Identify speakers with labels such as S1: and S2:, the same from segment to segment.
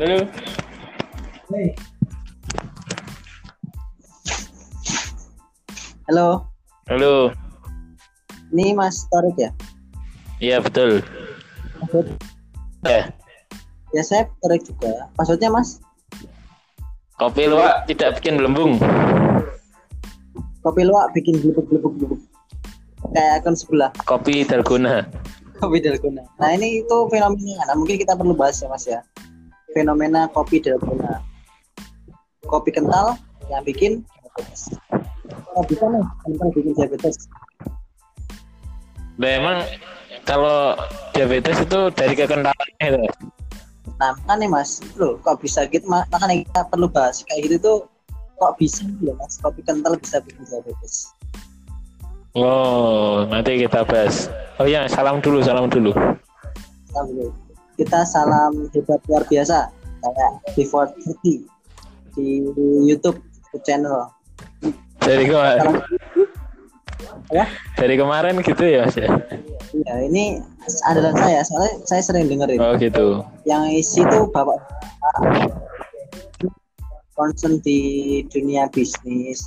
S1: Halo.
S2: Hey. Halo,
S1: Halo.
S2: ini Mas Torik ya?
S1: Iya betul.
S2: Maksud-
S1: Ya.
S2: Ya saya Torik juga. Maksudnya Mas,
S1: Kopi luwak tidak bikin belembung.
S2: kopi luwak bikin glebek-glebek-glebek. Kayak akun sebelah,
S1: Kopi dalgona.
S2: kopi dalgona. Nah ini itu fenomena, nah, mungkin kita perlu bahas ya Mas ya. Fenomena kopi dalgona. Kopi kental yang bikin diabetes. Kalau bisa nih, kental bikin diabetes.
S1: Nah, emang kalau diabetes itu dari kekentalan itu.
S2: Nah, makanya mas, loh, kok bisa gitu? Ma- Makanya kita perlu bahas kayak gitu tuh, kok bisa gitu ya mas? Kopi kental bisa bikin diabetes.
S1: Oh, nanti kita bahas. Oh ya, salam dulu, salam dulu.
S2: Kita, dulu. kita salam hebat luar biasa kayak before 30 di YouTube channel.
S1: Dari
S2: Salam.
S1: kemarin,
S2: Ya,
S1: dari kemarin gitu ya, Mas ya.
S2: ya ini andalan saya, soalnya saya sering dengerin.
S1: Oh gitu.
S2: Yang isi tuh bapak concern di dunia bisnis.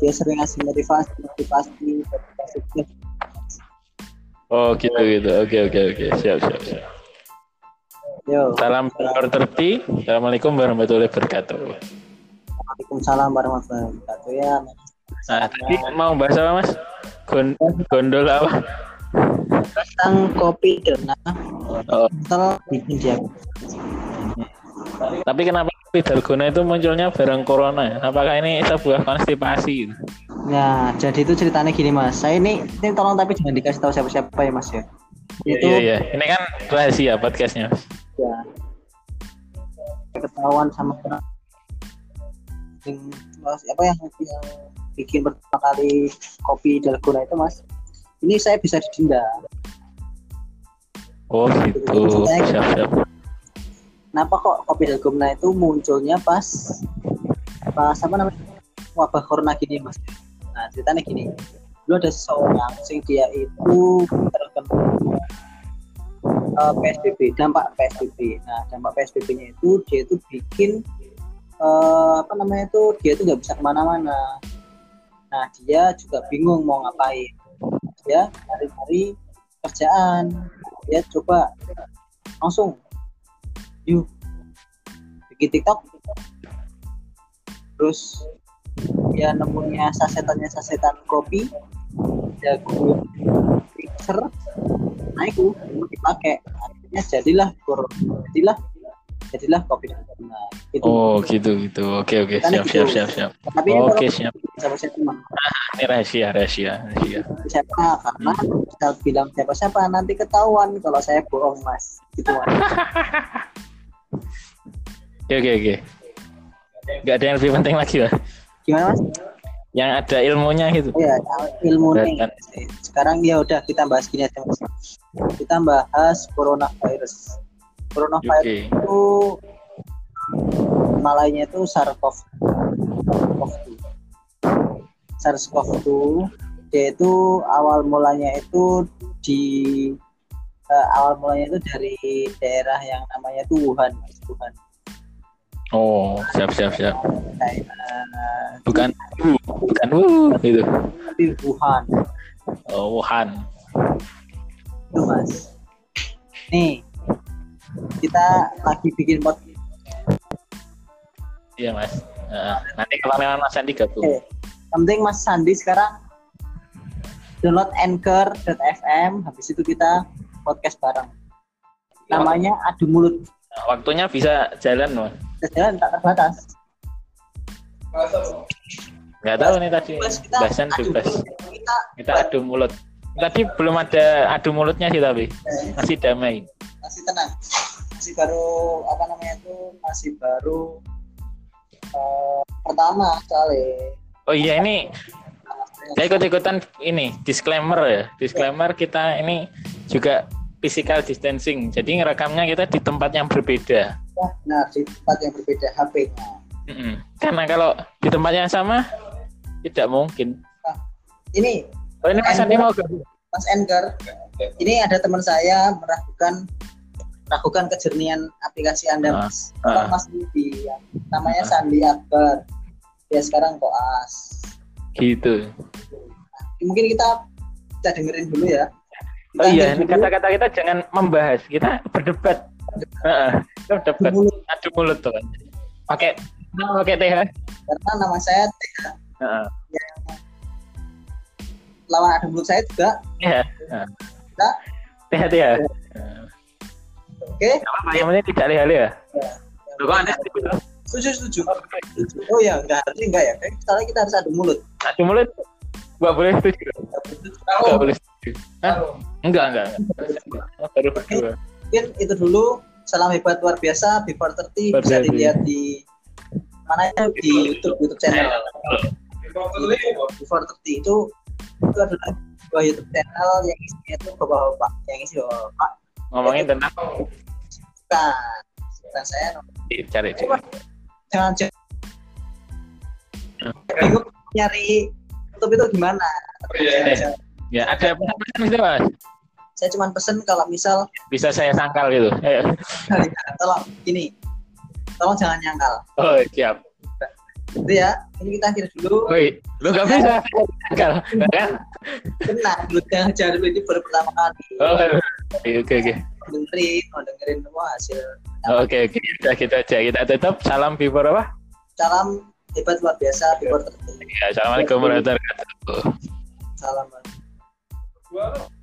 S2: Dia sering ngasih motivasi, motivasi, motivasi.
S1: Oh gitu gitu. Oke oke oke. Siap siap siap.
S2: Yo.
S1: Salam Bor Terti. Assalamualaikum warahmatullahi wabarakatuh.
S2: Waalaikumsalam warahmatullahi wabarakatuh ya.
S1: Nah, tadi mau bahas apa Mas? Gon- gondol apa?
S2: Tentang kopi dona
S1: Oh,
S2: kental bikin diabetes.
S1: Tapi kenapa kopi dalgona itu munculnya bareng corona? ya? Apakah ini sebuah konstipasi?
S2: Nah, jadi itu ceritanya gini Mas. Saya ini, ini tolong tapi jangan dikasih tahu siapa-siapa ya Mas ya.
S1: Iya,
S2: itu
S1: iya, iya. Ini kan rahasia podcastnya. Mas.
S2: ya ketahuan sama orang yang Mas, apa yang yang bikin pertama kali kopi dalgona itu Mas. Ini saya bisa didenda.
S1: Oh gitu. Siap siap.
S2: Kenapa kok kopi dalgona itu munculnya pas pas apa namanya wabah corona gini mas? Nah ceritanya gini, dulu ada seseorang sing dia itu terkena eh, PSBB, dampak PSBB. Nah dampak PSBB-nya itu dia itu bikin eh, apa namanya itu dia itu nggak bisa kemana-mana. Nah dia juga bingung mau ngapain. Dia cari-cari kerjaan. Dia coba langsung yuk bikin TikTok terus dia nemunya sasetannya sasetan kopi jago mixer naik tuh dipakai akhirnya jadilah kur jadilah jadilah kopi nah itu
S1: Oh gitu gitu. Oke oke. Siap siap siap siap.
S2: tapi ini
S1: Oke
S2: kalau
S1: siap.
S2: siapa siapa teman
S1: Ini rahasia rahasia rahasia.
S2: siapa karena saya bilang siapa siapa nanti ketahuan kalau saya bohong mas gitu mas
S1: Oke oke oke. Gak ada yang lebih penting lagi lah.
S2: gimana mas
S1: Yang ada ilmunya gitu.
S2: Oh ya, ilmu nih.
S1: Berat
S2: Sekarang ya udah kita bahas gini aja Mas. Kita bahas coronavirus. Coronavirus
S1: Oke.
S2: itu malainya itu SARS-CoV. SARS-CoV-2. SARS-CoV-2 yaitu awal mulanya itu di eh, awal mulanya itu dari daerah yang namanya itu Wuhan, Mas. Wuhan,
S1: Oh siap siap siap.
S2: China,
S1: Bukan wuh, bukan wuh gitu.
S2: tapi Wuhan.
S1: Oh, Wuhan.
S2: Itu mas. Nih, kita lagi bikin podcast.
S1: Iya mas. Heeh. nanti kalau memang Mas Andi gabung.
S2: Yang penting Mas Sandi sekarang download anchor.fm. Habis itu kita podcast bareng. Namanya adu mulut.
S1: Nah, Waktunya bisa jalan mas.
S2: Jalan tak terbatas.
S1: Nggak tahu nih tadi.
S2: Mas, kita
S1: Bahasan
S2: adu
S1: bebas.
S2: mulut. Kita
S1: Kita adu mulut. Tadi belum ada adu mulutnya sih tapi
S2: eh,
S1: masih damai.
S2: masih tenang. Masih baru apa namanya itu masih baru eh, pertama kali.
S1: Oh iya ini saya ikut-ikutan ini disclaimer ya. Disclaimer kita ini juga physical distancing. Jadi ngerekamnya kita di tempat yang berbeda.
S2: Nah, di tempat yang berbeda HP-nya.
S1: Mm-mm. Karena kalau di tempat yang sama tidak mungkin.
S2: Nah, Ini
S1: Oh ini Mas Andi mau gabung?
S2: Mas Anchor. Ini ada teman saya meragukan ragukan kejernihan aplikasi Anda,
S1: Ah,
S2: Mas. Kalau
S1: ah.
S2: Mas Budi, yang namanya
S1: Ah.
S2: Sandi Akbar. Dia sekarang koas.
S1: gitu.
S2: Mungkin kita kita dengerin dulu ya. Kita
S1: Oh iya,
S2: dengerin
S1: ini
S2: dulu.
S1: kata-kata kita jangan membahas, kita berdebat. Heeh, kita berdebat.
S2: Mulut.
S1: Adu mulut tuh. Pakai nah, pakai teh.
S2: karena nama saya
S1: Heeh.
S2: lawan adu mulut saya juga
S1: Ya.
S2: Nah.
S1: Teh teh. ya.
S2: oke
S1: Nggak apa-apa, yang penting tidak leha-leha. Loh, kok Anda
S2: setuju setuju setuju oh ya enggak harusnya enggak ya kayak misalnya kita harus adu mulut
S1: Adu mulut nggak boleh setuju. Nggak boleh setuju. Hah? Enggak, enggak. enggak. Oh, Baru berdua.
S2: mungkin itu dulu salam hebat luar biasa before
S1: Luar
S2: 30 bisa
S1: biasa.
S2: dilihat di mana ya, di YouTube YouTube channel before 30 itu itu adalah sebuah YouTube channel yang isinya itu bapak-bapak yang isi bapak-bapak
S1: Ngomongin tentang
S2: bukan bukan saya
S1: cari cari.
S2: jangan jangan bingung nyari YouTube itu gimana
S1: iya. Ya, ada pesan-pesan gitu, Mas.
S2: saya cuma pesen kalau misal
S1: Bisa saya sangkal gitu. Ayo.
S2: tolong gini tolong jangan nyangkal
S1: Oh, siap.
S2: itu ya ini kita akhir dulu
S1: Woi, lu nggak bisa sangkal. Kan?
S2: tenang dulu jangan jangan dulu ini baru pertama kali
S1: Oh, oke oke oke.
S2: Mau dengerin mau dengerin semua hasil
S1: Oke oke. Kita kita aja kita tutup. Salam Bipor apa?
S2: salam hebat luar biasa before 30
S1: Iya, Ya, assalamualaikum warahmatullahi wabarakatuh.
S2: salam